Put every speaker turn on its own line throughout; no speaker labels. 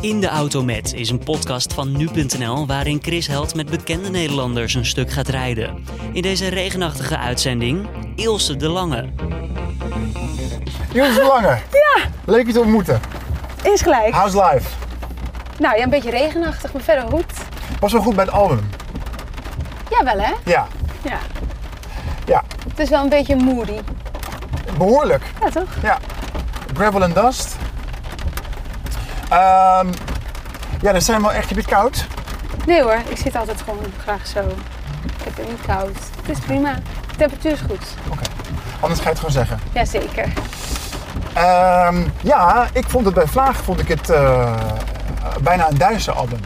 In de Auto Met is een podcast van nu.nl waarin Chris Held met bekende Nederlanders een stuk gaat rijden. In deze regenachtige uitzending Ilse de Lange.
Jules de Lange.
Ja.
Leuk je te ontmoeten.
Is gelijk.
How's life?
Nou ja, een beetje regenachtig, maar verder goed.
Was wel goed bij het album.
Ja, wel hè?
Ja.
Ja.
Ja.
Het is wel een beetje moody.
Behoorlijk.
Ja, toch?
Ja. Gravel and Dust. Ehm ja, dat zijn wel echt een beetje koud.
Nee hoor, ik zit altijd gewoon graag zo. Ik heb het niet koud. Het is prima. De temperatuur is goed.
Anders ga je het gewoon zeggen.
Jazeker.
Ehm, ja, ik vond het bij Vlaag vond ik het eh, bijna een Duitse album.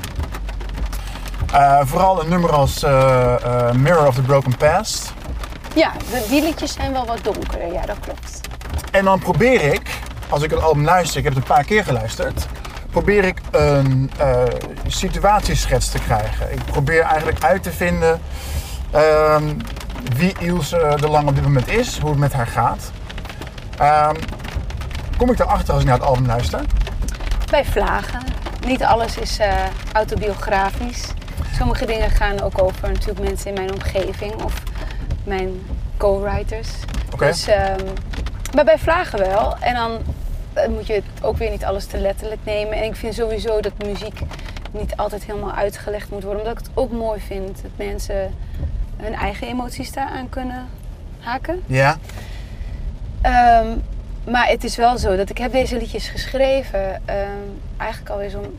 Eh, vooral een nummer als eh, eh, Mirror of the Broken Past.
Ja, de, die liedjes zijn wel wat donkerder. Ja, dat klopt.
En dan probeer ik, als ik het album luister, ik heb het een paar keer geluisterd, probeer ik een eh, situatieschets te krijgen. Ik probeer eigenlijk uit te vinden ehm, wie Ilse de Lang op dit moment is, hoe het met haar gaat. Ehm, kom ik erachter als ik naar het album luister?
Bij vlagen. Niet alles is eh, autobiografisch. Sommige dingen gaan ook over natuurlijk mensen in mijn omgeving of mijn co-writers.
Oké.
Dus, ehm, maar bij vragen wel. En dan eh, moet je het ook weer niet alles te letterlijk nemen. En ik vind sowieso dat muziek niet altijd helemaal uitgelegd moet worden. Omdat ik het ook mooi vind dat mensen hun eigen emoties daaraan kunnen haken.
Ja.
Ehm, maar het is wel zo dat ik heb deze liedjes geschreven ehm eigenlijk alweer zo'n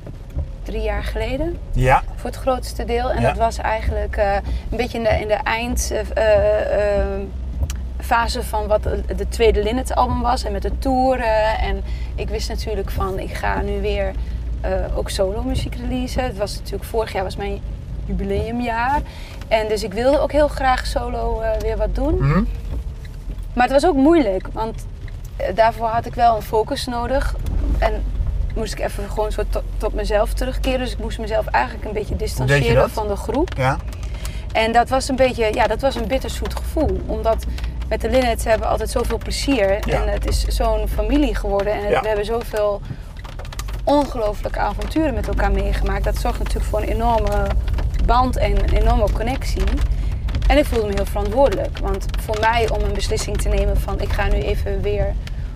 drie jaar geleden.
Ja.
Voor het grootste deel. En
Ja.
dat was eigenlijk eh, een beetje in de, in de eh, eindfase eh, van wat de tweede Linnet album was. En met de toeren. En ik wist natuurlijk van ik ga nu weer eh, ook solo muziek releasen. Het was natuurlijk vorig jaar was mijn jubileumjaar. En dus ik wilde ook heel graag solo eh, weer wat doen.
Mhm.
Maar het was ook moeilijk, want eh, daarvoor had ik wel een focus nodig. En moest ik even gewoon zo tot, tot mezelf terugkeren. Dus ik moest mezelf eigenlijk een beetje distancieren
dat?
van de groep.
Ja.
En dat was een beetje, ja, dat was een bitterzoet gevoel. Omdat met de Linnets hebben we altijd zoveel plezier.
Ja.
En het is zo'n familie geworden. En het-
Ja.
we hebben zoveel ongelooflijke avonturen met elkaar meegemaakt. Dat zorgt natuurlijk voor een enorme band en een enorme connectie. En ik voelde me heel verantwoordelijk. Want voor mij om een beslissing te nemen van ik ga nu even weer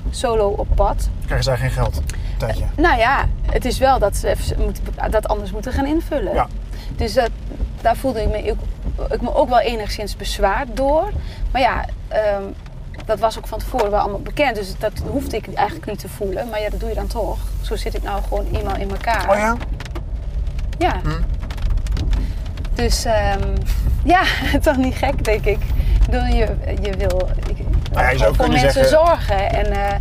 solo op pad.
Krijgen zij geen geld? Tijdje.
Nou ja, het is wel dat ze even moet- dat anders moeten gaan invullen.
Ja.
Dus dat, daar voelde ik me, ook- ik me ook wel enigszins bezwaard door. Maar ja, ehm, dat was ook van tevoren wel allemaal bekend. Dus dat hoefde ik eigenlijk niet te voelen. Maar ja, dat doe je dan toch. Zo zit ik nou gewoon eenmaal in elkaar.
Oh ja?
Ja. Dus ehm, ja, toch niet gek, denk ik. Ik bedoel, je, je wil ik-
Nou ja, je zou
voor
kunnen
mensen
zeggen-
zorgen. En, eh,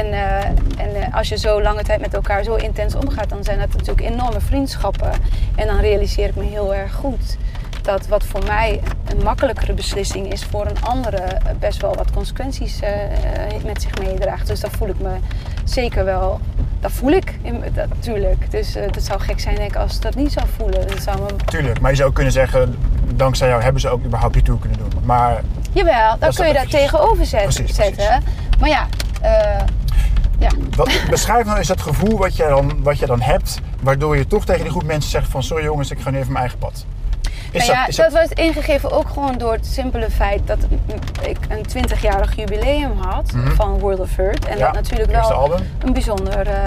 en, eh, en eh, als je zo lange tijd met elkaar zo intens omgaat, dan zijn dat natuurlijk enorme vriendschappen. En dan realiseer ik me heel erg goed dat wat voor mij een makkelijkere beslissing is, voor een andere eh, best wel wat consequenties eh, eh, met zich meedraagt. Dus dat voel ik me zeker wel. Dat voel ik in- dat- natuurlijk. Dus eh dat zou gek zijn denk ik, als ik dat niet zou voelen. Dat zou me
Tuurlijk. Maar je zou ook kunnen zeggen, dankzij jou hebben ze ook überhaupt die tour kunnen doen. Maar
Jawel, dan
is
kun
dat
je daar
precies.
tegenover zet-
Precies,
zetten. Maar ja, eh, ja,
wat, beschrijf nou eens dat gevoel wat je, dan, wat je dan hebt, waardoor je toch tegen die groep mensen zegt van sorry jongens, ik ga nu even mijn eigen pad. Is
nou ja,
is
dat, was ingegeven ook gewoon door het simpele feit dat mm, ik een 20-jarig jubileum had van World of Hurt. En
Mhm. Ja,
dat natuurlijk
eerste
wel
album.
een bijzonder ehm,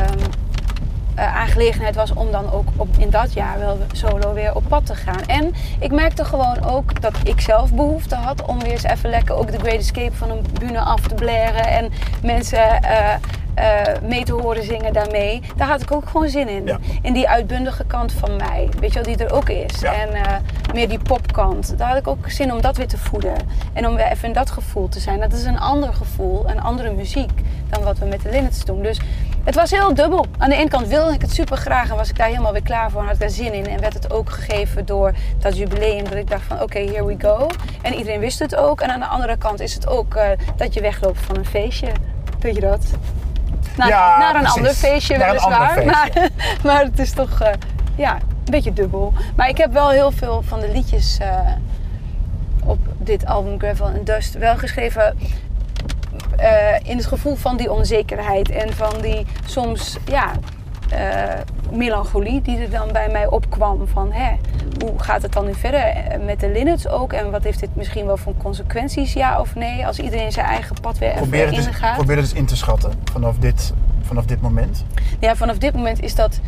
eh, aangelegenheid was om dan ook op, in dat jaar wel solo weer op pad te gaan. En ik merkte gewoon ook dat ik zelf behoefte had om weer eens even lekker ook de Great Escape van een bühne af te blaren en mensen eh, eh, mee te horen zingen daarmee. Daar had ik ook gewoon zin in.
Ja.
In die uitbundige kant van mij, weet je wel, die er ook is.
Ja.
En eh, meer die popkant. Daar had ik ook zin om dat weer te voeden. En om weer even in dat gevoel te zijn. Dat is een ander gevoel, een andere muziek dan wat we met de Linnets doen. Dus het was heel dubbel. Aan de ene kant wilde ik het super graag en was ik daar helemaal weer klaar voor en had ik daar zin in. En werd het ook gegeven door dat jubileum dat ik dacht van oké, here we go. En iedereen wist het ook. En aan de andere kant is het ook eh, dat je wegloopt van een feestje. Weet je dat? Naar,
Ja,
naar een
precies.
ander feestje
Naar een
weliswaar.
ander feestje.
Maar maar het is toch eh, ja, een beetje dubbel. Maar ik heb wel heel veel van de liedjes eh, op dit album Gravel and Dust wel geschreven. eh, in het gevoel van die onzekerheid en van die soms ja, eh, melancholie die er dan bij mij opkwam. Van hè, hoe gaat het dan nu verder eh, met de Linnets ook? En wat heeft dit misschien wel voor consequenties, ja of nee? Als iedereen zijn eigen pad weer even
Probeer het, eens,
ingaat.
probeer het eens in te schatten vanaf dit, vanaf dit moment.
Ja, vanaf dit moment is dat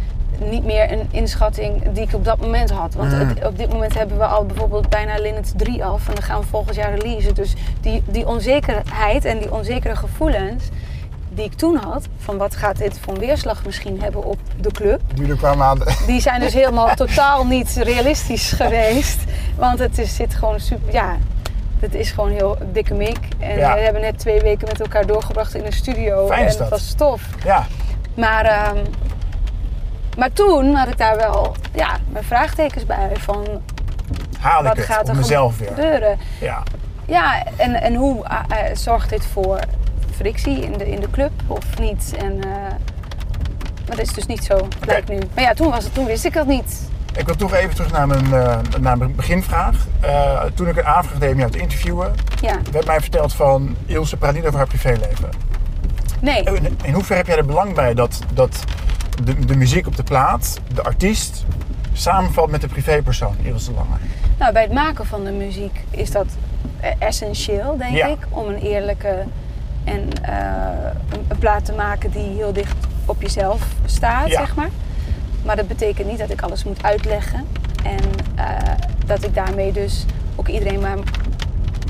niet meer een inschatting die ik op dat moment had. Want
Mm.
het- op dit moment hebben we al bijvoorbeeld bijna Linux 3 af en dan gaan we volgend jaar releasen. Dus die, die onzekerheid en die onzekere gevoelens die ik toen had, van wat gaat dit voor een weerslag misschien hebben op de club,
Duurde qua maanden.
die zijn dus helemaal totaal niet realistisch geweest. Want het is, zit gewoon super. Ja, het is gewoon heel dikke mik. En
Ja.
we hebben net twee weken met elkaar doorgebracht in de studio.
Fijn
en
is
het
dat.
was tof.
Ja,
Maar, ehm, maar toen had ik daar wel ja, mijn vraagtekens bij. Van
haal ik
wat
het
gaat
op
er
mezelf weer.
gebeuren?
Ja.
Ja, en, en hoe eh, eh, zorgt dit voor frictie in de, in de club of niet? En, eh, maar dat is dus niet zo, blijkt nu. Maar ja, toen, was het, toen wist ik dat niet.
Ik wil toch even terug naar mijn, eh, naar mijn beginvraag. Eh, toen ik een aanvraag deed om jou te interviewen,
Ja,
werd mij verteld van Ilse praat niet over haar privéleven.
nee.
Eh, In, in hoeverre heb jij er belang bij dat, dat de, de muziek op de plaat, de artiest, samenvalt met de privépersoon, Ilse Lange?
Nou, bij het maken van de muziek is dat eh, essentieel, denk
Ja.
ik, om een eerlijke en eh, een, een plaat te maken die heel dicht op jezelf staat,
Ja.
zeg maar. Maar dat betekent niet dat ik alles moet uitleggen en eh, dat ik daarmee dus ook iedereen maar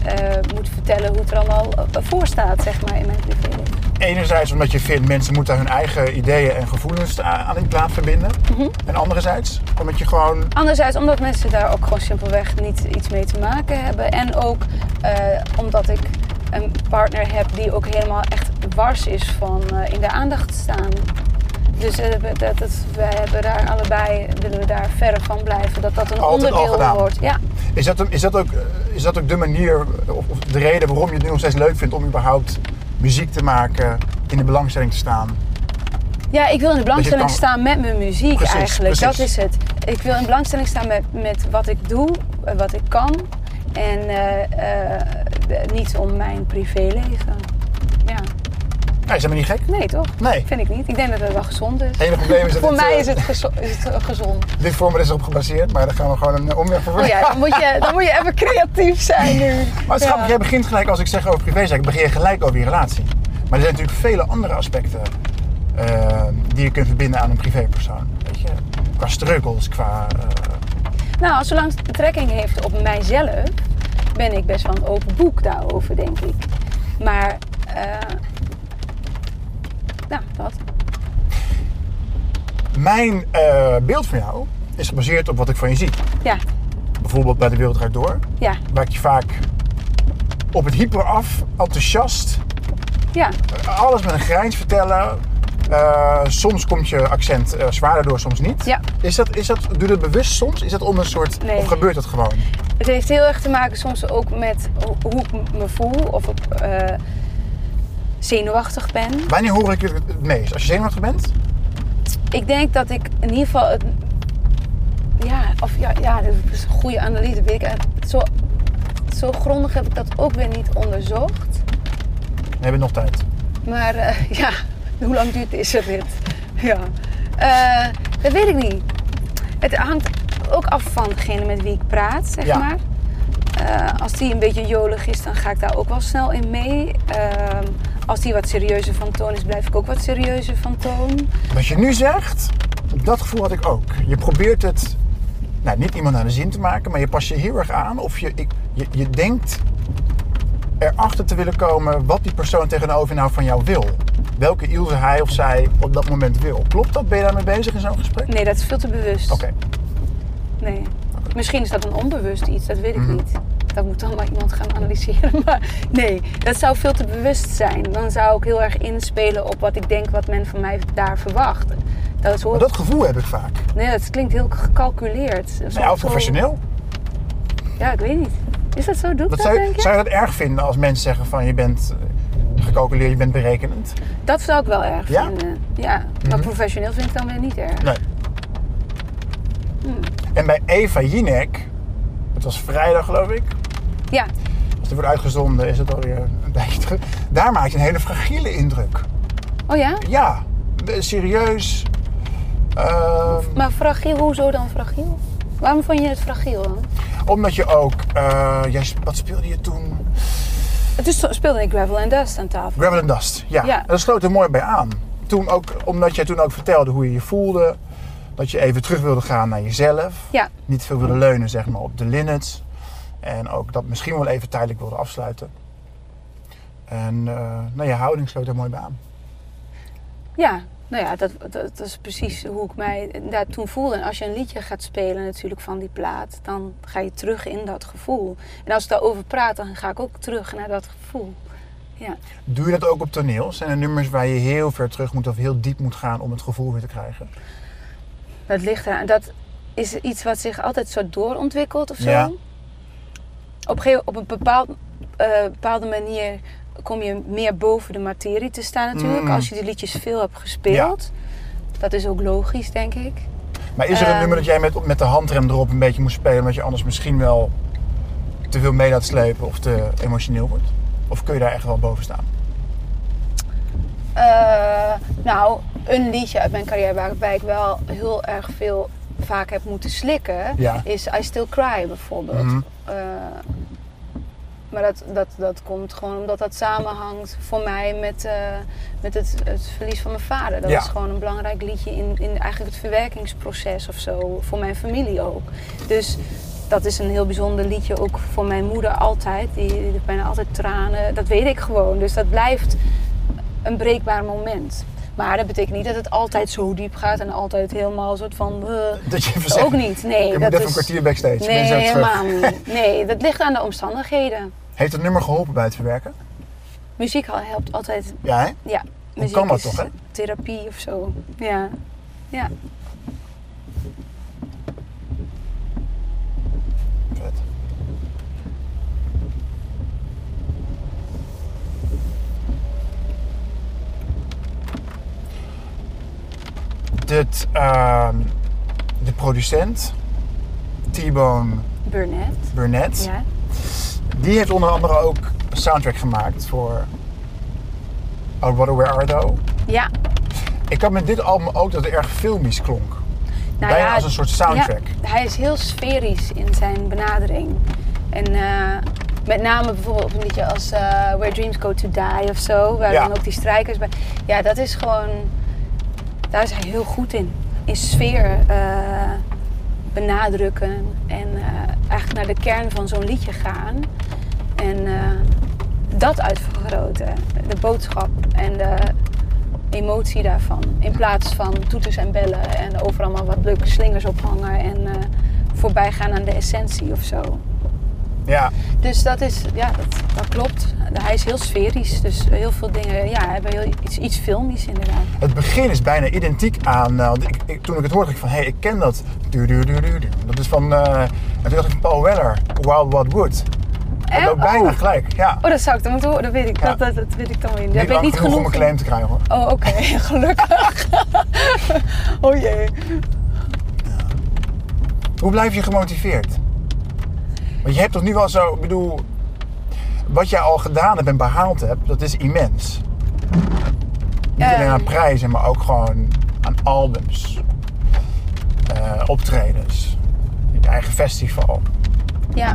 eh, moet vertellen hoe het er allemaal eh, voor staat, zeg maar, in mijn privéleven.
Enerzijds omdat je vindt mensen moeten hun eigen ideeën en gevoelens a- aan die plaat verbinden.
Mhm.
En anderzijds omdat je gewoon
Anderzijds omdat mensen daar ook gewoon simpelweg niet iets mee te maken hebben. En ook eh, omdat ik een partner heb die ook helemaal echt wars is van eh, in de aandacht staan. Dus eh, we- dat, dat, wij hebben daar allebei, willen we daar verre van blijven. Dat dat een
al
onderdeel
gedaan.
wordt. Ja,
Is dat, is, dat ook, eh, is dat ook de manier of, of de reden waarom je het nu nog steeds leuk vindt om überhaupt muziek te maken, in de belangstelling te staan?
Ja, ik wil in de belangstelling
kan-
staan met mijn muziek
Precies,
eigenlijk.
precies.
Dat is het. Ik wil in belangstelling staan met, met wat ik doe, eh, wat ik kan. En eh, eh, de- niet om mijn privéleven. Ja,
Nee, Nou, is helemaal niet gek.
nee toch?
Nee.
Vind ik niet. Ik denk dat het wel gezond is.
Het enige probleem is dat
Voor
dit,
mij
eh,
is het, gezo- is het eh, gezond.
Dit format is erop gebaseerd, maar daar gaan we gewoon een eh, omweg voor
Oh ja, dan moet, je, dan moet je even creatief zijn nu.
Maar het is
Ja.
grappig, jij begint gelijk als ik zeg over privézaken, begin je gelijk over je relatie. Maar er zijn natuurlijk vele andere aspecten eh, die je kunt verbinden aan een privépersoon. Weet je? Qua struggles, qua... eh,
Nou, zolang het betrekking heeft op mijzelf, ben ik best wel een open boek daarover, denk ik. Maar, eh nou, dat.
Mijn eh, beeld van jou is gebaseerd op wat ik van je zie.
Ja,
Bijvoorbeeld bij De Wereld Draait Door.
ja,
waar ik je vaak op het hyper af, enthousiast,
ja,
alles met een grijns vertellen. Eh, soms komt je accent eh, zwaarder door, soms niet.
ja.
Is dat, is dat, doe je dat bewust soms? Is dat om een soort,
Nee.
of gebeurt dat gewoon?
Het heeft heel erg te maken soms ook met ho- hoe ik me voel of ik eh, zenuwachtig ben.
Wanneer hoor ik het het meest? Als je zenuwachtig bent?
Ik denk dat ik in ieder geval. Het, ja, of ja, ja, dat is dus een goede analyse. Weet ik, eigenlijk- zo, zo grondig heb ik dat ook weer niet onderzocht.
Dan hebben we nog tijd.
Maar eh, ja, hoe lang duurt deze rit? Ja, Eh, dat weet ik niet. Het hangt ook af van degene met wie ik praat, zeg
Ja.
maar. Eh, als die een beetje jolig is, dan ga ik daar ook wel snel in mee. Ehm, als die wat serieuzer van toon is, blijf ik ook wat serieuzer van toon.
Wat je nu zegt, dat gevoel had ik ook. Je probeert het, nou niet iemand naar de zin te maken, maar je past je heel erg aan. Of je, ik- je, je denkt erachter te willen komen wat die persoon tegenover nou van jou wil. Welke Ilse hij of zij op dat moment wil. Klopt dat? Ben je daarmee bezig in zo'n gesprek?
Nee, dat is veel te bewust.
Oké.
Nee. Misschien is dat een onbewust iets, dat weet ik
Mhm.
niet. Dat moet dan maar iemand gaan analyseren. Maar nee, dat zou veel te bewust zijn. Dan zou ik heel erg inspelen op wat ik denk wat men van mij daar verwacht. Dat is
Maar
hoor...
dat gevoel heb ik vaak. Nou
Nee, dat klinkt heel gecalculeerd. Dat is
Ja,
ook
of
zo-
professioneel.
Ja, ik weet niet. Is dat zo? Doe
Dat
ik dat,
zou,
denk
je,
je?
zou je dat erg vinden als mensen zeggen van je bent eh, gecalculeerd, je bent berekenend?
Dat zou ik wel erg
Ja? Mhm.
vinden. Ja, maar professioneel vind ik dan weer niet erg.
Nee. En bij Eva Jinek, het was vrijdag geloof ik,
Ja,
Als het wordt uitgezonden, is het alweer een tijdje terug. Daar maak je een hele fragiele indruk.
oh ja?
Ja, serieus. Ehm,
Maar fragiel, hoezo dan fragiel? Waarom vond je het fragiel dan?
omdat je ook, eh, jij, sp- wat speelde je toen?
Dus toen speelde ik Gravel and Dust aan tafel.
Gravel and Dust, ja.
Ja.
En dat sloot er mooi bij aan. Toen ook, omdat jij toen ook vertelde hoe je je voelde. Dat je even terug wilde gaan naar jezelf.
Ja,
Niet veel wilde leunen zeg maar, op de linnets. En ook dat misschien wel even tijdelijk wilde afsluiten. En eh, nou, je houding sloot er mooi bij aan.
ja. Nou ja, dat, dat, dat is precies hoe ik mij daar toen voelde. En als je een liedje gaat spelen natuurlijk van die plaat, dan ga je terug in dat gevoel. En als ik daarover praat, dan ga ik ook terug naar dat gevoel.
Doe je dat ook op toneel? Zijn er nummers waar je heel ver terug moet of heel diep moet gaan om het gevoel weer te krijgen?
Dat ligt eraan. Dat is iets wat zich altijd zo doorontwikkelt of zo.
Ja.
Op, een gegeven- op een bepaald, eh, bepaalde manier kom je meer boven de materie te staan natuurlijk.
Mm.
Als je die liedjes veel hebt gespeeld. Dat is ook logisch, denk ik.
Maar is er een
Ehm.
nummer dat jij met, met de handrem erop een beetje moest spelen, omdat je anders misschien wel te veel mee laat slepen of te emotioneel wordt? Of kun je daar echt wel boven staan?
Eh, nou, een liedje uit mijn carrière waarbij ik wel heel erg veel vaak heb moeten slikken.
Ja.
Is I Still Cry bijvoorbeeld.
Mhm.
Eh, maar dat, dat, dat komt gewoon omdat dat samenhangt voor mij met, eh, met het, het verlies van mijn vader. Dat
Ja.
is gewoon een belangrijk liedje in, in eigenlijk het verwerkingsproces of zo. Voor mijn familie ook. Dus dat is een heel bijzonder liedje ook voor mijn moeder altijd. Die, die heeft bijna altijd tranen. Dat weet ik gewoon. Dus dat blijft een breekbaar moment. Maar dat betekent niet dat het altijd zo diep gaat en altijd helemaal een soort van... eh,
Dat je verzet.
ook niet, nee.
Je
dat
moet even
is...
een kwartier backstage.
Nee,
ben zo terug.
helemaal niet. Nee, dat ligt aan de omstandigheden.
Heeft het nummer geholpen bij het verwerken?
Muziek al- helpt altijd.
Ja, hè?
Ja, muziek
kan dat
is
toch, hè?
therapie of zo. Ja. ja.
Vet. Dit, ehm, de producent, T-Bone
Burnett.
Burnett,
Ja.
die heeft onder andere ook een soundtrack gemaakt voor Oh What Where Are Thou.
ja.
Ik had met dit album ook dat het erg filmisch klonk.
Nou
Bijna als een soort soundtrack.
ja, hij is heel sferisch in zijn benadering. En eh, met name bijvoorbeeld op een liedje als eh, Where Dreams Go To Die of zo. Waar
Ja.
dan ook die strijkers bij... Ja, dat is gewoon... Daar is hij heel goed in. In sfeer eh, benadrukken. En eh, eigenlijk naar de kern van zo'n liedje gaan. En eh, dat uitvergroten. De boodschap en de emotie daarvan. In plaats van toeters en bellen en overal maar wat leuke slingers ophangen en eh, voorbij gaan aan de essentie of zo.
Ja,
Dus dat is, ja, dat, dat klopt. Hij is heel sferisch, dus heel veel dingen, ja, hebben heel iets, iets filmisch inderdaad.
het begin is bijna identiek aan. eh, want ik, ik- toen ik het hoorde, dacht ik van hé, hey, ik ken dat. Du- du- du- du- du. Dat is van. eh, en toen dacht ik van Paul Weller, Wild What Wood. Dat
Eh,
loopt bijna
oh,
gelijk. Ja,
oh, dat zou ik dan moeten horen, dat weet ik,
Ja.
dat, dat, dat weet ik dan weer niet.
niet
Daar ben ik
lang
niet
genoeg om een
genoeg
claim te krijgen hoor.
in. Oh, oké, gelukkig. oh jee.
Hoe blijf je gemotiveerd? Want je hebt toch nu wel zo. Ik bedoel, wat jij al gedaan hebt en behaald hebt, dat is immens. Niet alleen
Ehm.
aan prijzen, maar ook gewoon aan albums, eh, optredens, je eigen festival.
Ja,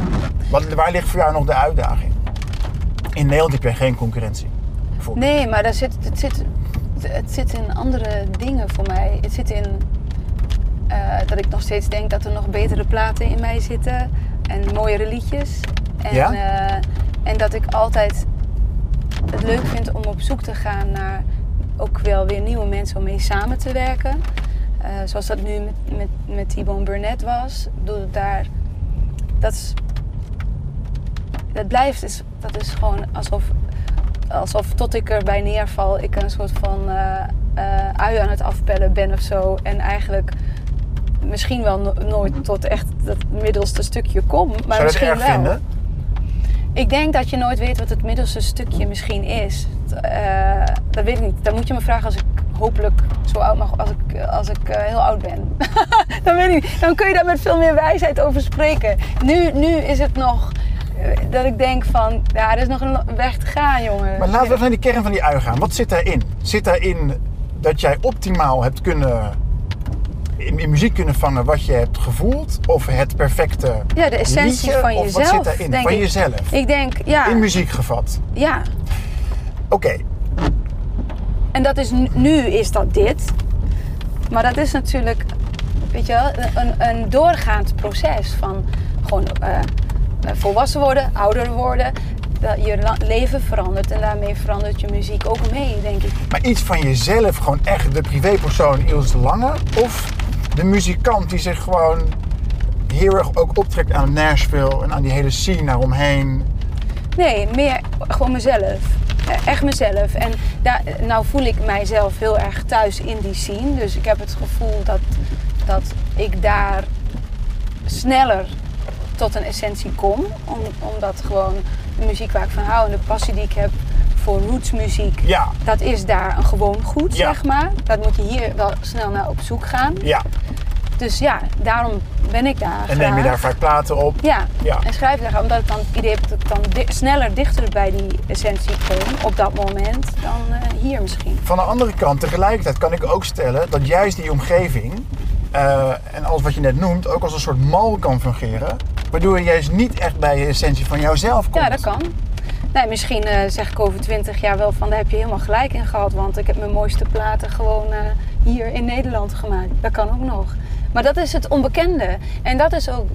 Wat, waar ligt voor jou nog de uitdaging? In Nederland heb je geen concurrentie. bijvoorbeeld.
Nee, maar daar zit, het, zit, het zit in andere dingen voor mij. Het zit in eh, dat ik nog steeds denk dat er nog betere platen in mij zitten. En mooiere liedjes. En,
Ja?
eh, en dat ik altijd het leuk vind om op zoek te gaan naar ook wel weer nieuwe mensen om mee samen te werken. Eh, zoals dat nu met, met, met T-Bone Burnett was. Doe het daar. Dat is dat blijft, is, dat is gewoon alsof, alsof tot ik erbij neerval, ik een soort van eh eh, ui aan het afpellen ben of zo. En eigenlijk misschien wel no- nooit tot echt dat middelste stukje kom. Maar
Zou je dat
misschien
erg
wel.
vinden?
Ik denk dat je nooit weet wat het middelste stukje misschien is. T- eh, dat weet ik niet. Dan moet je me vragen als ik hopelijk zo oud mag, als ik, als ik eh, heel oud ben. dan weet ik niet. Dan kun je daar met veel meer wijsheid over spreken. Nu, nu is het nog eh, dat ik denk van, ja, er is nog een lo- weg te gaan, jongen.
Maar laten we even naar die kern van die ui gaan. Wat zit daarin? Zit daarin dat jij optimaal hebt kunnen in, in muziek kunnen vangen wat je hebt gevoeld. Of het perfecte
Ja, de essentie
liedje,
van
of
jezelf.
Wat zit daarin?
denk
Van
ik.
jezelf.
Ik denk, ja.
In muziek gevat.
ja.
Oké,
En dat is nu- nu is dat dit. Maar dat is natuurlijk, weet je wel, een, een doorgaand proces van gewoon eh, eh, volwassen worden, ouder worden. Dat je la- leven verandert en daarmee verandert je muziek ook mee, denk ik.
maar iets van jezelf, gewoon echt de privépersoon Ilse de Lange. Of de muzikant die zich gewoon heel erg ook optrekt aan Nashville en aan die hele scene daaromheen.
Nee, meer gewoon mezelf. Eh, Echt mezelf. En daar, nou voel ik mijzelf heel erg thuis in die scene. Dus ik heb het gevoel dat, dat ik daar sneller tot een essentie kom. Om, omdat gewoon de muziek waar ik van hou en de passie die ik heb voor rootsmuziek...
Ja,
Dat is daar een gewoon goed,
Ja.
zeg maar. Dat moet je hier wel snel naar op zoek gaan.
ja.
Dus ja, daarom ben ik daar
En neem je
graag.
daar vaak platen op.
Ja,
Ja.
en schrijf leggen. Omdat ik dan het idee heb dat ik dan di- sneller dichter bij die essentie kom op dat moment dan eh, hier misschien.
Van de andere kant, tegelijkertijd kan ik ook stellen dat juist die omgeving eh, en alles wat je net noemt ook als een soort mal kan fungeren. Waardoor je juist niet echt bij de essentie van jouzelf komt.
Ja, dat kan. Nee, misschien eh, zeg ik over twintig jaar wel van daar heb je helemaal gelijk in gehad. Want ik heb mijn mooiste platen gewoon eh, hier in Nederland gemaakt. Dat kan ook nog. Maar dat is het onbekende. En dat is ook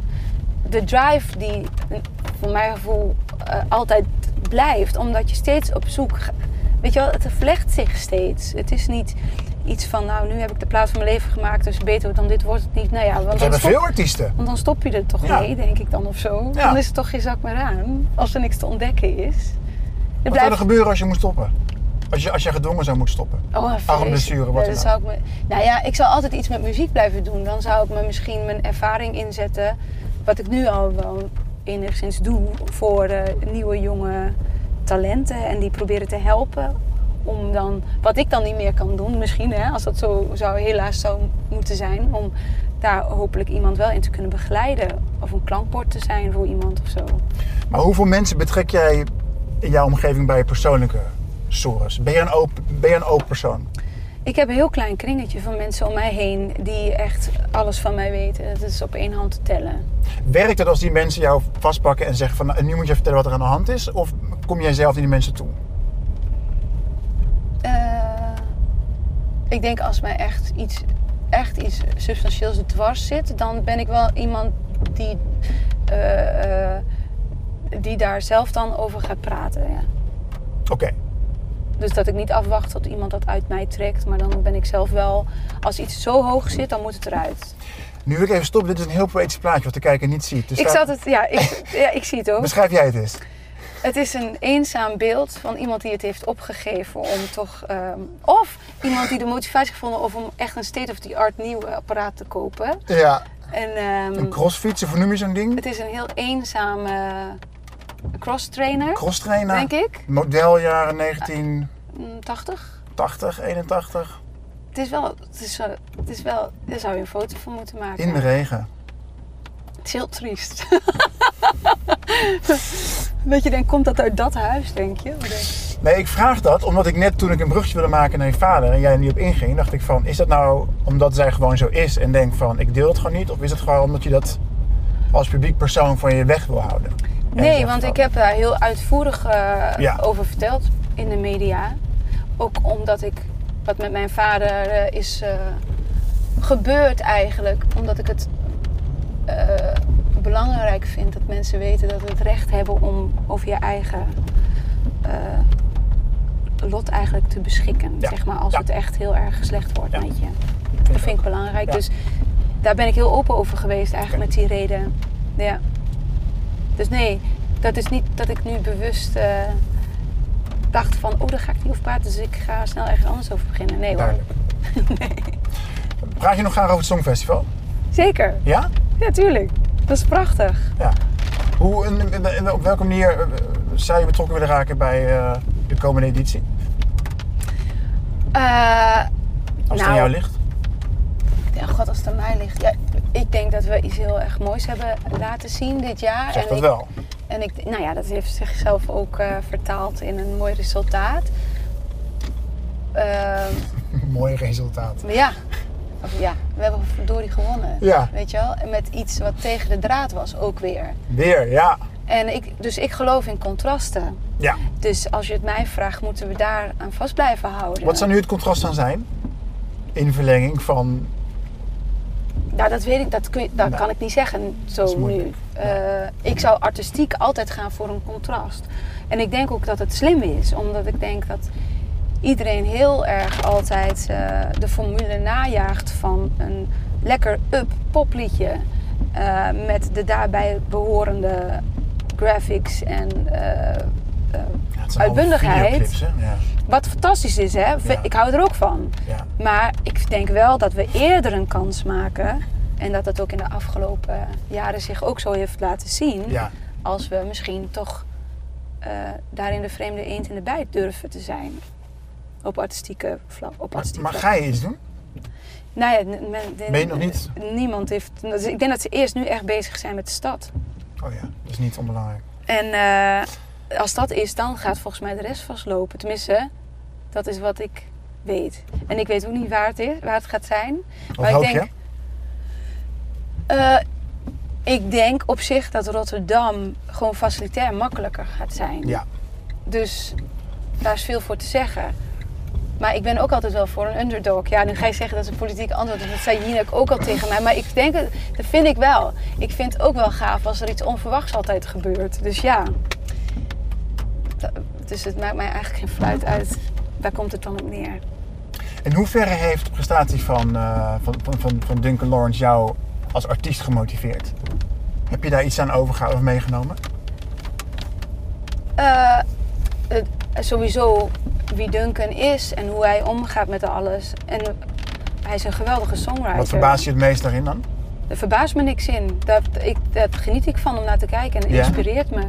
de drive die eh, voor mijn gevoel eh, altijd blijft. Omdat je steeds op zoek ga- Weet je wel, het verlegt zich steeds. Het is niet iets van nou nu heb ik de plaat van mijn leven gemaakt. Dus beter dan dit wordt het niet. Nou ja, want
Dat
dan
hebben
stop-
veel artiesten.
want dan stop je er toch
Ja.
mee, denk ik dan of zo.
Ja.
Dan is het toch geen zak meer aan. Als er niks te ontdekken is. Het
Wat zou er gebeuren als je moet stoppen? Als je, als je gedwongen zou moeten stoppen?
Oh, vreselijk.
blessure, wat
Ja,
dan
dat
ook.
zou ik me... Nou ja, ik zou altijd iets met muziek blijven doen. Dan zou ik me misschien mijn ervaring inzetten. Wat ik nu al wel enigszins doe voor eh, nieuwe jonge talenten. En die proberen te helpen. Om dan, wat ik dan niet meer kan doen, misschien, hè, als dat zo zou helaas zou moeten zijn. Om daar hopelijk iemand wel in te kunnen begeleiden. Of een klankbord te zijn voor iemand of zo.
Maar hoeveel mensen betrek jij in jouw omgeving bij je persoonlijke sores? Ben je een open, ben je een open persoon?
Ik heb een heel klein kringetje van mensen om mij heen die echt alles van mij weten. Dat is op één hand te tellen.
Werkt het als die mensen jou vastpakken en zeggen van nou, nu moet je vertellen wat er aan de hand is? Of kom jij zelf naar die mensen toe?
Eh, ik denk als mij echt iets, echt iets substantieels dwars zit, dan ben ik wel iemand die, eh, eh, die daar zelf dan over gaat praten. Ja.
Oké,
Dus dat ik niet afwacht tot iemand dat uit mij trekt, maar dan ben ik zelf wel, als iets zo hoog zit, dan moet het eruit.
nu wil ik even stoppen. Dit is een heel poëtisch plaatje wat de kijker niet ziet. Dus
Ik
daar-
zat het, ja, ik, ja, ik zie het ook.
Beschrijf jij het eens.
Het is een eenzaam beeld van iemand die het heeft opgegeven om toch. ehm, of iemand die de motivatie gevonden of om echt een state-of-the-art nieuw eh, apparaat te kopen.
Ja.
En ehm,
Een crossfiets, of hoe noem je zo'n ding?
het is een heel eenzame cross trainer,
Crosstrainer.
denk ik.
Model jaren 1980,
Mm, 80.
81.
Het is wel, het is, eh, het is wel, daar zou je een foto van moeten maken.
In de regen.
Het is heel triest. dat je denkt, komt dat uit dat huis, denk je? Of denk je-
Nee, ik vraag dat omdat ik net toen ik een brugje wilde maken naar je vader en jij er niet op inging, dacht ik van, is dat nou omdat zij gewoon zo is en denkt van, ik deel het gewoon niet? Of is het gewoon omdat je dat als publiek persoon van je weg wil houden? En
Nee,
zegt
want
van,
ik heb daar heel uitvoerig eh,
Ja.
over verteld in de media. Ook omdat ik wat met mijn vader eh, is eh, gebeurd eigenlijk. Omdat ik het eh, belangrijk vind dat mensen weten dat we het recht hebben om over je eigen eh, lot eigenlijk te beschikken.
Ja.
Zeg maar als
Ja.
het echt heel erg slecht wordt
Ja.
met je.
ik vind
Dat vind ik belangrijk.
Ja.
Dus daar ben ik heel open over geweest eigenlijk
Oké.
met die reden. Ja. Dus nee, dat is niet dat ik nu bewust eh, dacht van... oh, daar ga ik niet over praten, dus ik ga snel ergens anders over beginnen. Nee hoor.
Duidelijk. Praat je nog graag over het Songfestival?
Zeker.
Ja?
Ja, tuurlijk. Dat is prachtig.
Ja. Hoe, en, en- en op welke manier eh, zou je betrokken willen raken bij eh, de komende editie?
Eh,
Als het
Nou.
aan jou ligt?
ja, god, als het aan mij ligt. Ja, ik denk dat we iets heel erg moois hebben laten zien dit jaar.
Zeg
En
dat
ik-
wel.
En ik, nou ja, dat heeft zichzelf ook eh, vertaald in een mooi resultaat. Ehm,
Mooi resultaat.
Maar ja, Of ja, we hebben verdorie gewonnen.
Ja.
Weet je wel? En Met iets wat tegen de draad was ook weer.
Weer, ja.
En ik, dus ik geloof in contrasten.
ja.
Dus als je het mij vraagt, moeten we daar aan vast blijven houden.
Wat zou nu het contrast dan zijn? In verlenging van...
Nou, dat weet ik, dat, kun je, dat
Nee.
kan ik niet zeggen zo
is
nu.
moeilijk.
Eh, ik zou artistiek altijd gaan voor een contrast. En ik denk ook dat het slim is, omdat ik denk dat iedereen heel erg altijd eh, de formule najaagt van een lekker up popliedje. eh, met de daarbij behorende graphics en eh, eh,
Ja, het zijn allemaal
Uitbundigheid.
videoclips, hè? Ja.
wat fantastisch is, hè?
Ja.
Ik hou er ook van.
Ja.
Maar ik denk wel dat we eerder een kans maken. En dat dat ook in de afgelopen jaren zich ook zo heeft laten zien.
ja.
Als we misschien toch eh, daarin de vreemde eend in de bijt durven te zijn. Op artistieke vlak. Op
Maar,
artistiek
maar
vlak.
ga je iets doen?
Nou ja, n- men-
Meen je nog niet?
Niemand heeft... dus Ik denk dat ze eerst nu echt bezig zijn met de stad.
Oh ja, dat is niet onbelangrijk.
En eh, als dat is, dan gaat volgens mij de rest vastlopen. Tenminste, dat is wat ik weet. En ik weet ook niet waar het, is, waar het gaat zijn.
Wat
ik
hoop
denk-
je?
Eh, ik denk op zich dat Rotterdam gewoon facilitair makkelijker gaat zijn.
Ja.
Dus daar is veel voor te zeggen. Maar ik ben ook altijd wel voor een underdog. Ja, nu ga je zeggen dat is een politiek antwoord. want Dat zei Jinek ook al tegen mij. Maar ik denk, het- dat vind ik wel. Ik vind het ook wel gaaf als er iets onverwachts altijd gebeurt. Dus ja. Da- Dus het maakt mij eigenlijk geen fluit uit. Daar komt het dan op neer.
In hoeverre heeft de prestatie van, eh, van, van, van, van Duncan Lawrence jou als artiest gemotiveerd? Heb je daar iets aan overgehouden of meegenomen?
Eh, het- sowieso wie Duncan is en hoe hij omgaat met alles. En hij is een geweldige songwriter.
Wat verbaast je het meest daarin dan?
Er verbaast me niks in. Dat, ik, dat geniet ik van om naar te kijken en
Ja?
inspireert me.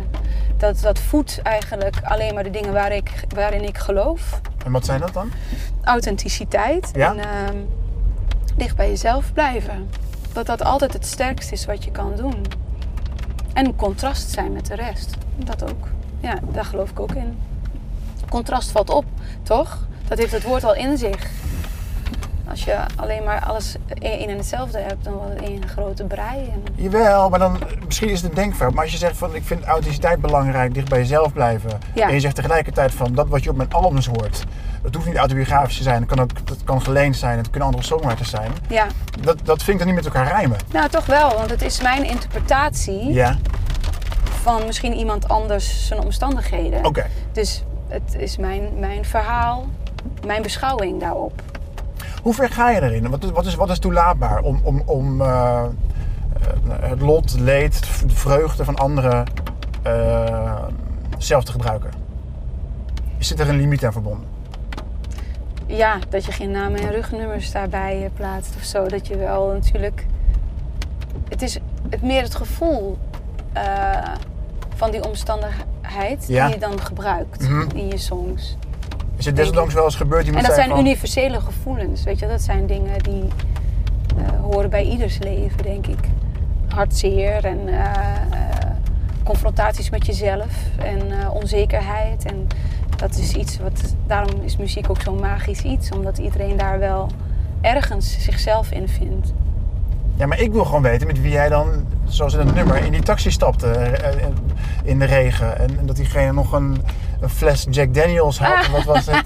Dat, dat voedt eigenlijk alleen maar de dingen waar ik, waarin ik geloof.
En wat zijn dat dan?
Authenticiteit
Ja?
en ehm, dicht bij jezelf blijven. Dat dat altijd het sterkst is wat je kan doen. En een contrast zijn met de rest. Dat ook. Ja, daar geloof ik ook in. Contrast valt op, toch? Dat heeft het woord al in zich. Als je alleen maar alles één en hetzelfde hebt, dan wordt het één grote brei. En
Jawel, maar dan misschien is het een denkfout. Maar als je zegt van ik vind authenticiteit belangrijk, dicht bij jezelf blijven.
Ja.
En je zegt tegelijkertijd van dat wat je op mijn albums hoort. Dat hoeft niet autobiografisch te zijn. Dat kan, ook, dat kan geleend zijn. Het kunnen andere songwriters zijn.
ja,
Dat, dat vind ik dan niet met elkaar rijmen.
nou toch wel, want het is mijn interpretatie
Ja,
van misschien iemand anders zijn omstandigheden.
oké.
Dus het is mijn, mijn verhaal, mijn beschouwing daarop.
Hoe ver ga je erin? Wat is, wat is, wat is toelaatbaar om, om, om eh, eh, het lot, het leed, de vreugde van anderen eh, zelf te gebruiken? Zit er een limiet aan verbonden?
Ja, dat je geen namen en rugnummers daarbij eh, plaatst of zo. Dat je wel natuurlijk. Het is het meer het gevoel eh, van die omstandigheid
Ja.
die je dan gebruikt
Mhm.
in je songs.
Is het desondanks wel eens gebeurd? Iemand
En dat
zei
zijn
van,
universele gevoelens, weet je. Dat zijn dingen die eh, horen bij ieders leven, denk ik. Hartzeer en eh, eh, confrontaties met jezelf en eh, onzekerheid. En dat is iets wat... Daarom is muziek ook zo'n magisch iets. Omdat iedereen daar wel ergens zichzelf in vindt.
Ja, maar ik wil gewoon weten met wie jij dan, zoals in het nummer, in die taxi stapte eh, eh, in de regen. En, en dat diegene nog een, een fles Jack Daniels had. Wat was het?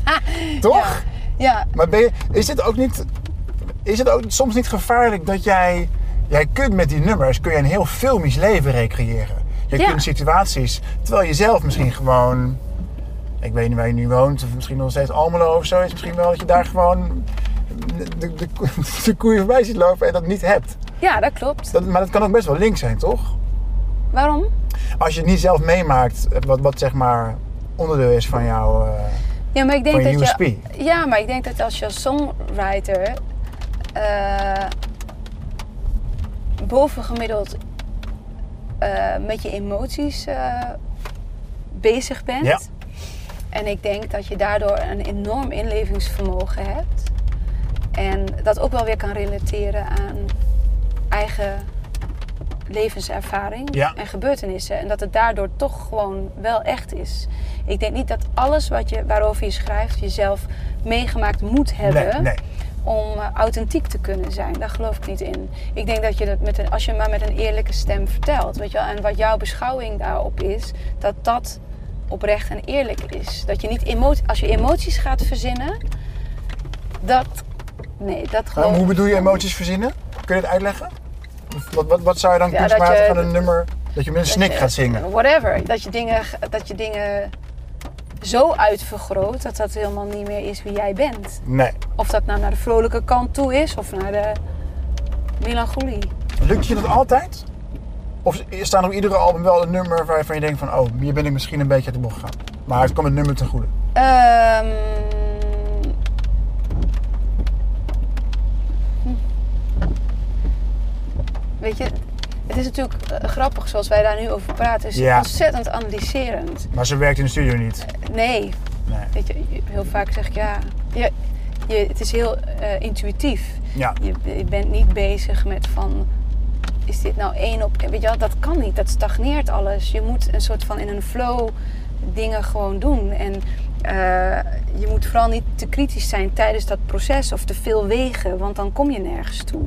Toch?
Ja,
Maar ben je, is het ook niet. Is het ook soms niet gevaarlijk dat jij. Jij kunt met die nummers kun je een heel filmisch leven recreëren. Je
Ja.
kunt situaties. Terwijl je zelf misschien gewoon. Ik weet niet waar je nu woont, of misschien nog steeds Almelo of zo. Is misschien wel dat je daar gewoon. De, de, de koeien voorbij ziet lopen en dat niet hebt.
ja dat klopt.
Dat, maar dat kan ook best wel links zijn, toch?
Waarom?
Als je het niet zelf meemaakt, eh, wat, wat zeg maar onderdeel is van jouw. eh,
Ja, maar ik denk
Van je
dat je.
USP.
Ja, maar ik denk dat als je als songwriter eh, bovengemiddeld eh, met je emoties eh, bezig bent.
Ja.
En ik denk dat je daardoor een enorm inlevingsvermogen hebt. En dat ook wel weer kan relateren aan eigen levenservaring
Ja.
en gebeurtenissen. En dat het daardoor toch gewoon wel echt is. Ik denk niet dat alles wat je, waarover je schrijft jezelf meegemaakt moet
nee,
hebben.
nee.
om eh, authentiek te kunnen zijn. Daar geloof ik niet in. Ik denk dat je dat met een, als je maar met een eerlijke stem vertelt, weet je wel, en wat jouw beschouwing daarop is, dat dat oprecht en eerlijk is. Dat je niet emotie, als je emoties gaat verzinnen, dat nee, dat
Maar
gewoon.
hoe bedoel je emoties verzinnen? Kun je dat uitleggen? Wat, wat, wat zou je dan
Ja,
kunstmatig
dat je-
aan een nummer... Dat je met een
Dat
snik
je-
gaat zingen?
Whatever. Dat je dingen, dat je dingen zo uitvergroot dat dat helemaal niet meer is wie jij bent.
Nee.
Of dat nou naar de vrolijke kant toe is of naar de melancholie.
Lukt je dat altijd? Of staat er op iedere album wel een nummer waarvan je denkt van... Oh, hier ben ik misschien een beetje uit de bocht gegaan. Maar het komt het nummer ten goede.
Ehm, hm. Weet je, het is natuurlijk eh, grappig zoals wij daar nu over praten. Het is
Ja.
ontzettend analyserend.
Maar ze werkt in de studio niet.
Nee,
Nee.
weet je, je- heel vaak zeg ik ja. Je, je, het is heel eh, intuïtief.
Ja.
Je, je bent niet bezig met van. Is dit nou één op. Weet je wel, dat kan niet. Dat stagneert alles. Je moet een soort van in een flow dingen gewoon doen. En eh, je moet vooral niet te kritisch zijn tijdens dat proces of te veel wegen, want dan kom je nergens toe.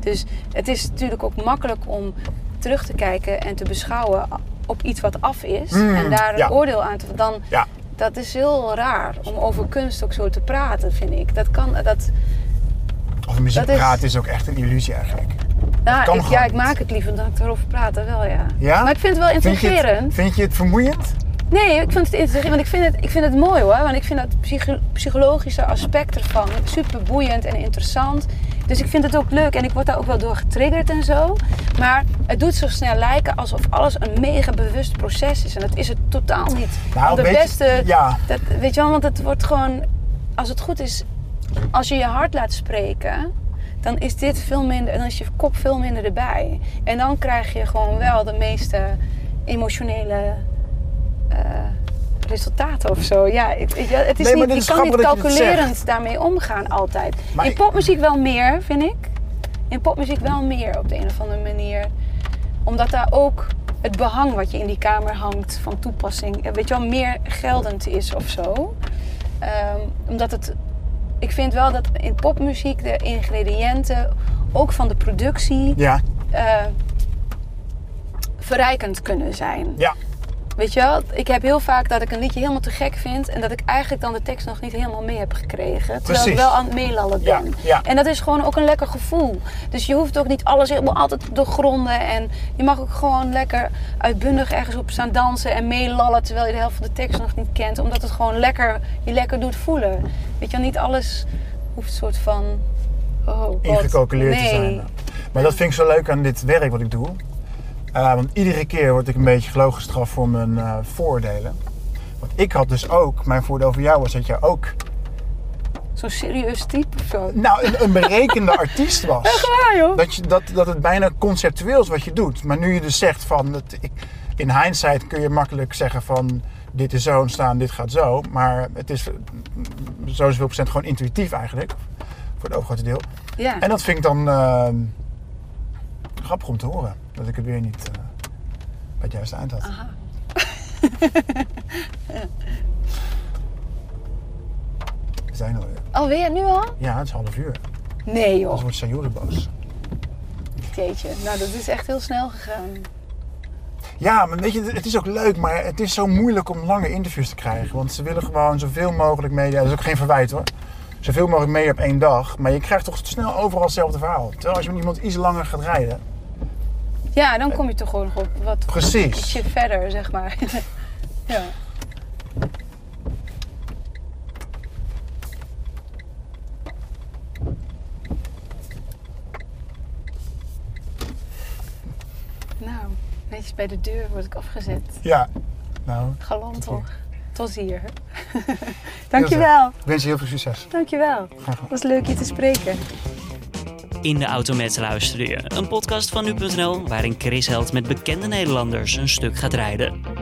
Dus het is natuurlijk ook makkelijk om terug te kijken en te beschouwen op iets wat af is
Mm,
en daar een
ja.
oordeel aan te. Dan,
Ja.
dat is heel raar om over kunst ook zo te praten, vind ik. Dat kan. Dat,
Of muziek
Dat is-
praten is ook echt een illusie eigenlijk.
nou,
kan
ik,
gewoon
ja, ik
niet.
maak het liever dan ik erover praat, dat wel ja.
Ja?
Maar ik vind het wel
Vind je
intrigerend.
het, vind je het vermoeiend?
Nee, ik vind het interessant, want ik vind het, ik vind het mooi hoor. Want ik vind dat psycho- psychologische aspect ervan super boeiend en interessant. Dus ik vind het ook leuk en ik word daar ook wel door getriggerd en zo. Maar het doet zo snel lijken alsof alles een mega bewust proces is. En dat is het totaal niet. Want de
Nou, weet je-
beste,
ja.
dat, weet je wel, want het wordt gewoon, als het goed is, als je je hart laat spreken, dan is dit veel minder, dan is je kop veel minder erbij. En dan krijg je gewoon wel de meeste emotionele eh, resultaten of zo. Ja, ik- ik- ja, het is
Nee, maar dit
niet,
is
je kan niet
grappig dat je dit
calculerend daarmee omgaan altijd.
Maar
In
ik-
popmuziek wel meer, vind ik. In popmuziek wel meer op de een of andere manier. Omdat daar ook het behang wat je in die kamer hangt van toepassing, eh, weet je wel, meer geldend is of zo. Ehm, omdat het. Ik vind wel dat in popmuziek de ingrediënten ook van de productie
Ja.
eh, verrijkend kunnen zijn.
Ja.
Weet je wel, ik heb heel vaak dat ik een liedje helemaal te gek vind en dat ik eigenlijk dan de tekst nog niet helemaal mee heb gekregen. Terwijl ik
Precies.
wel aan het meelallen ben.
Ja, ja.
En dat is gewoon ook een lekker gevoel. Dus je hoeft ook niet alles helemaal altijd te doorgronden en je mag ook gewoon lekker uitbundig ergens op staan dansen en meelallen terwijl je de helft van de tekst nog niet kent, omdat het gewoon lekker je lekker doet voelen. Weet je wel, niet alles hoeft soort van oh, God,
ingecalculeerd
nee.
te zijn. Maar dat vind ik zo leuk aan dit werk wat ik doe. Eh, want iedere keer word ik een beetje geloof gestraft voor mijn eh, voordelen. Want ik had dus ook, mijn voordeel voor jou was dat jij ook
Zo'n serieus type of zo.
nou, een, een berekende artiest was.
Ja, joh.
Dat, je, dat, dat het bijna conceptueel is wat je doet. Maar nu je dus zegt van, dat ik, in hindsight kun je makkelijk zeggen van dit is zo ontstaan, dit gaat zo. Maar het is eh, zoveel procent gewoon intuïtief eigenlijk. Voor het overgrote deel.
Ja.
En dat vind ik dan eh, grappig om te horen. Dat ik het weer niet eh, bij het juiste eind had. We zijn alweer.
Alweer nu al?
Ja, het is half uur.
Nee
Anders
joh.
wordt Sayuri boos.
Jeetje, nou dat is echt heel snel gegaan.
Ja, maar weet je, het is ook leuk, maar het is zo moeilijk om lange interviews te krijgen. Want ze willen gewoon zoveel mogelijk media. Dat is ook geen verwijt hoor. Zoveel mogelijk media op één dag. Maar je krijgt toch snel overal hetzelfde verhaal. Terwijl als je met iemand iets langer gaat rijden.
Ja, dan kom je toch gewoon nog op wat
Precies.
ietsje verder, zeg maar. ja. Nou, netjes bij de deur word ik afgezet.
Ja. Nou,
Galant
Tot hier.
toch? Tot hier. Dankjewel,
ik wens je heel veel succes.
dankjewel. Het was leuk je te spreken.
In de auto met luister je. Een podcast van nu.nl waarin Chris Held met bekende Nederlanders een stuk gaat rijden.